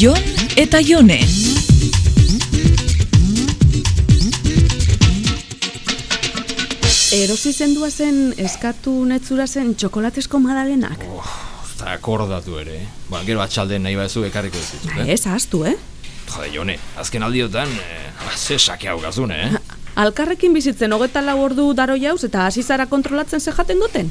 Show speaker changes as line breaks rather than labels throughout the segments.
Jon eta Jone.
Erosi zendua zen eskatu netzura zen txokolatesko madalenak.
Eta akordatu ere, eh? Ba, gero atxalden nahi bazu ekarriko dizut,
Ba, ez, ahaztu, eh?
Jode, jone, azken aldiotan, eh, ba, ze sake hau gazune, eh?
Alkarrekin bizitzen hogeta lau ordu daro jauz eta hasi zara kontrolatzen ze jaten duten.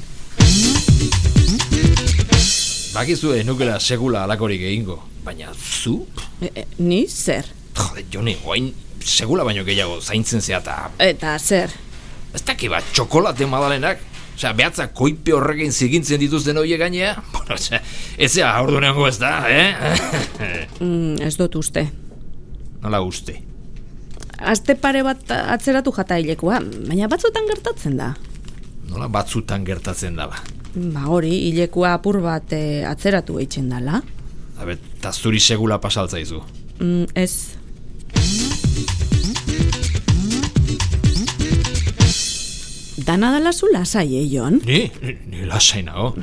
Bakizu eh, nukela sekula alakorik egingo, baina zu?
E, e, ni zer?
Jode, jone, oain segula baino gehiago zaintzen zea eta
Eta zer?
ez daki bat txokolate madalenak, Osea, behatza koipe horrekin zigintzen dituzten horiek gainea, bueno, osea, ez zea aurduneango ez da, eh?
Mm, ez dut uste.
Nola uste.
Aste pare bat atzeratu jatailekoa, baina batzuetan gertatzen da.
Nola batzutan gertatzen da ba.
Ba hori, hilekoa apur bat eh, atzeratu eitzen dala.
Habe, ta zuri segula pasaltzaizu.
Mm, ez. Dana dala zu lasai, eh, Jon?
Ni? Ni, ni lasai nago.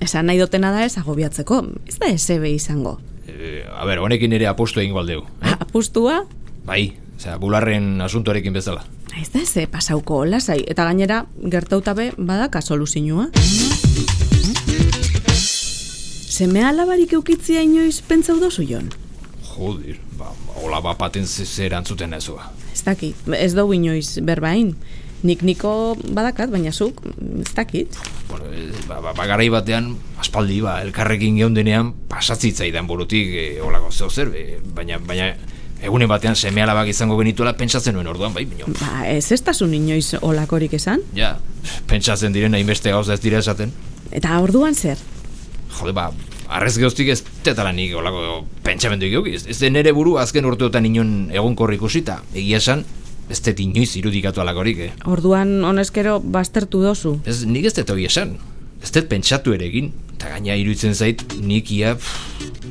Esan nahi dotena da ez agobiatzeko, ez da esebe izango.
E, a ber, honekin ere apostu egingo aldeu.
Apustua,
Bai, osea, bularren asuntoarekin bezala.
ez da ze pasauko lasai, eta gainera gertautabe badaka soluzinua. Seme alabarik eukitzia inoiz pentsau dozu, Jon?
Jodir, ba, hola bat baten ze- ze erantzuten ez ba.
Ez dakit, ez dugu inoiz berbain. Nik niko badakat, baina zuk, ez dakit.
Bueno, e, ba, ba, ba, garai batean, aspaldi, ba, elkarrekin geundenean, pasatzaidan burutik, e, holako zeo zer, e, baina, baina, egunen batean seme alabak izango genituela pentsatzen nuen orduan, bai, bino,
Ba, ez ez tasun inoiz olakorik esan.
ja, pentsatzen diren hainbeste gauza ez dira esaten.
Eta orduan zer?
Jode, ba, arrez gehoztik ez tetala nik olako pentsamendu gehuki. Ez, ez den nere buru azken urteotan inon egonkor ikusita. Egia esan, ez det inoiz irudikatu alakorik, eh?
Orduan honezkero baztertu dozu.
Ez, nik ez det hori esan. Ez det pentsatu ere egin. Eta gaina iruditzen zait, nik ia pff,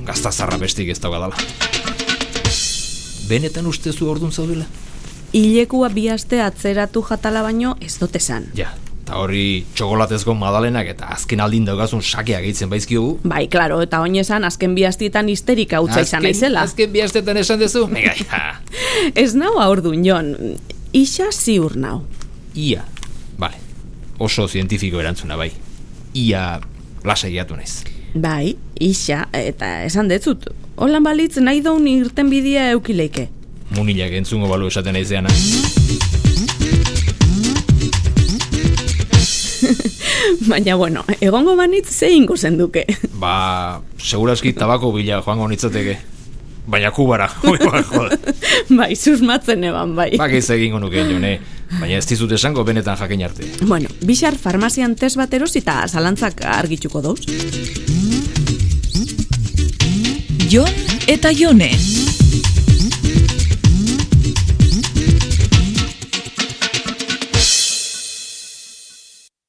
gaztazarra bestik ez daukadala. Benetan ustezu ordun zaudela?
Ilekua bi aste atzeratu jatala baino ez dut esan.
Ja, eta horri txokolatezko madalenak eta azken aldin daukazun sakeak egiten baizkiogu.
Bai, klaro, eta oin esan azken bi astietan histerika utza izan naizela.
Azken bi astetan esan duzu? Mega, ja.
Ez nau aurduan, Jon. Isa ziur nau.
Ia. Vale. Oso zientifiko erantzuna bai. Ia lasai gehiatu naiz.
Bai, isa, eta esan detzut. Holan balitz nahi daun irten bidea eukileike.
Munilak entzungo balu esaten eh? naizeana.
Baina, bueno, egongo banitz zein guzen duke.
Ba, segurazki tabako bila joango nitzateke. Baina kubara, hoi ba, jode.
bai, susmatzen eban, bai.
Ba, geiz egingo nuke jone. Baina ez dizut esango benetan jakin arte.
Bueno, bixar farmazian test bat eros eta zalantzak argituko dauz.
Jon eta Jone.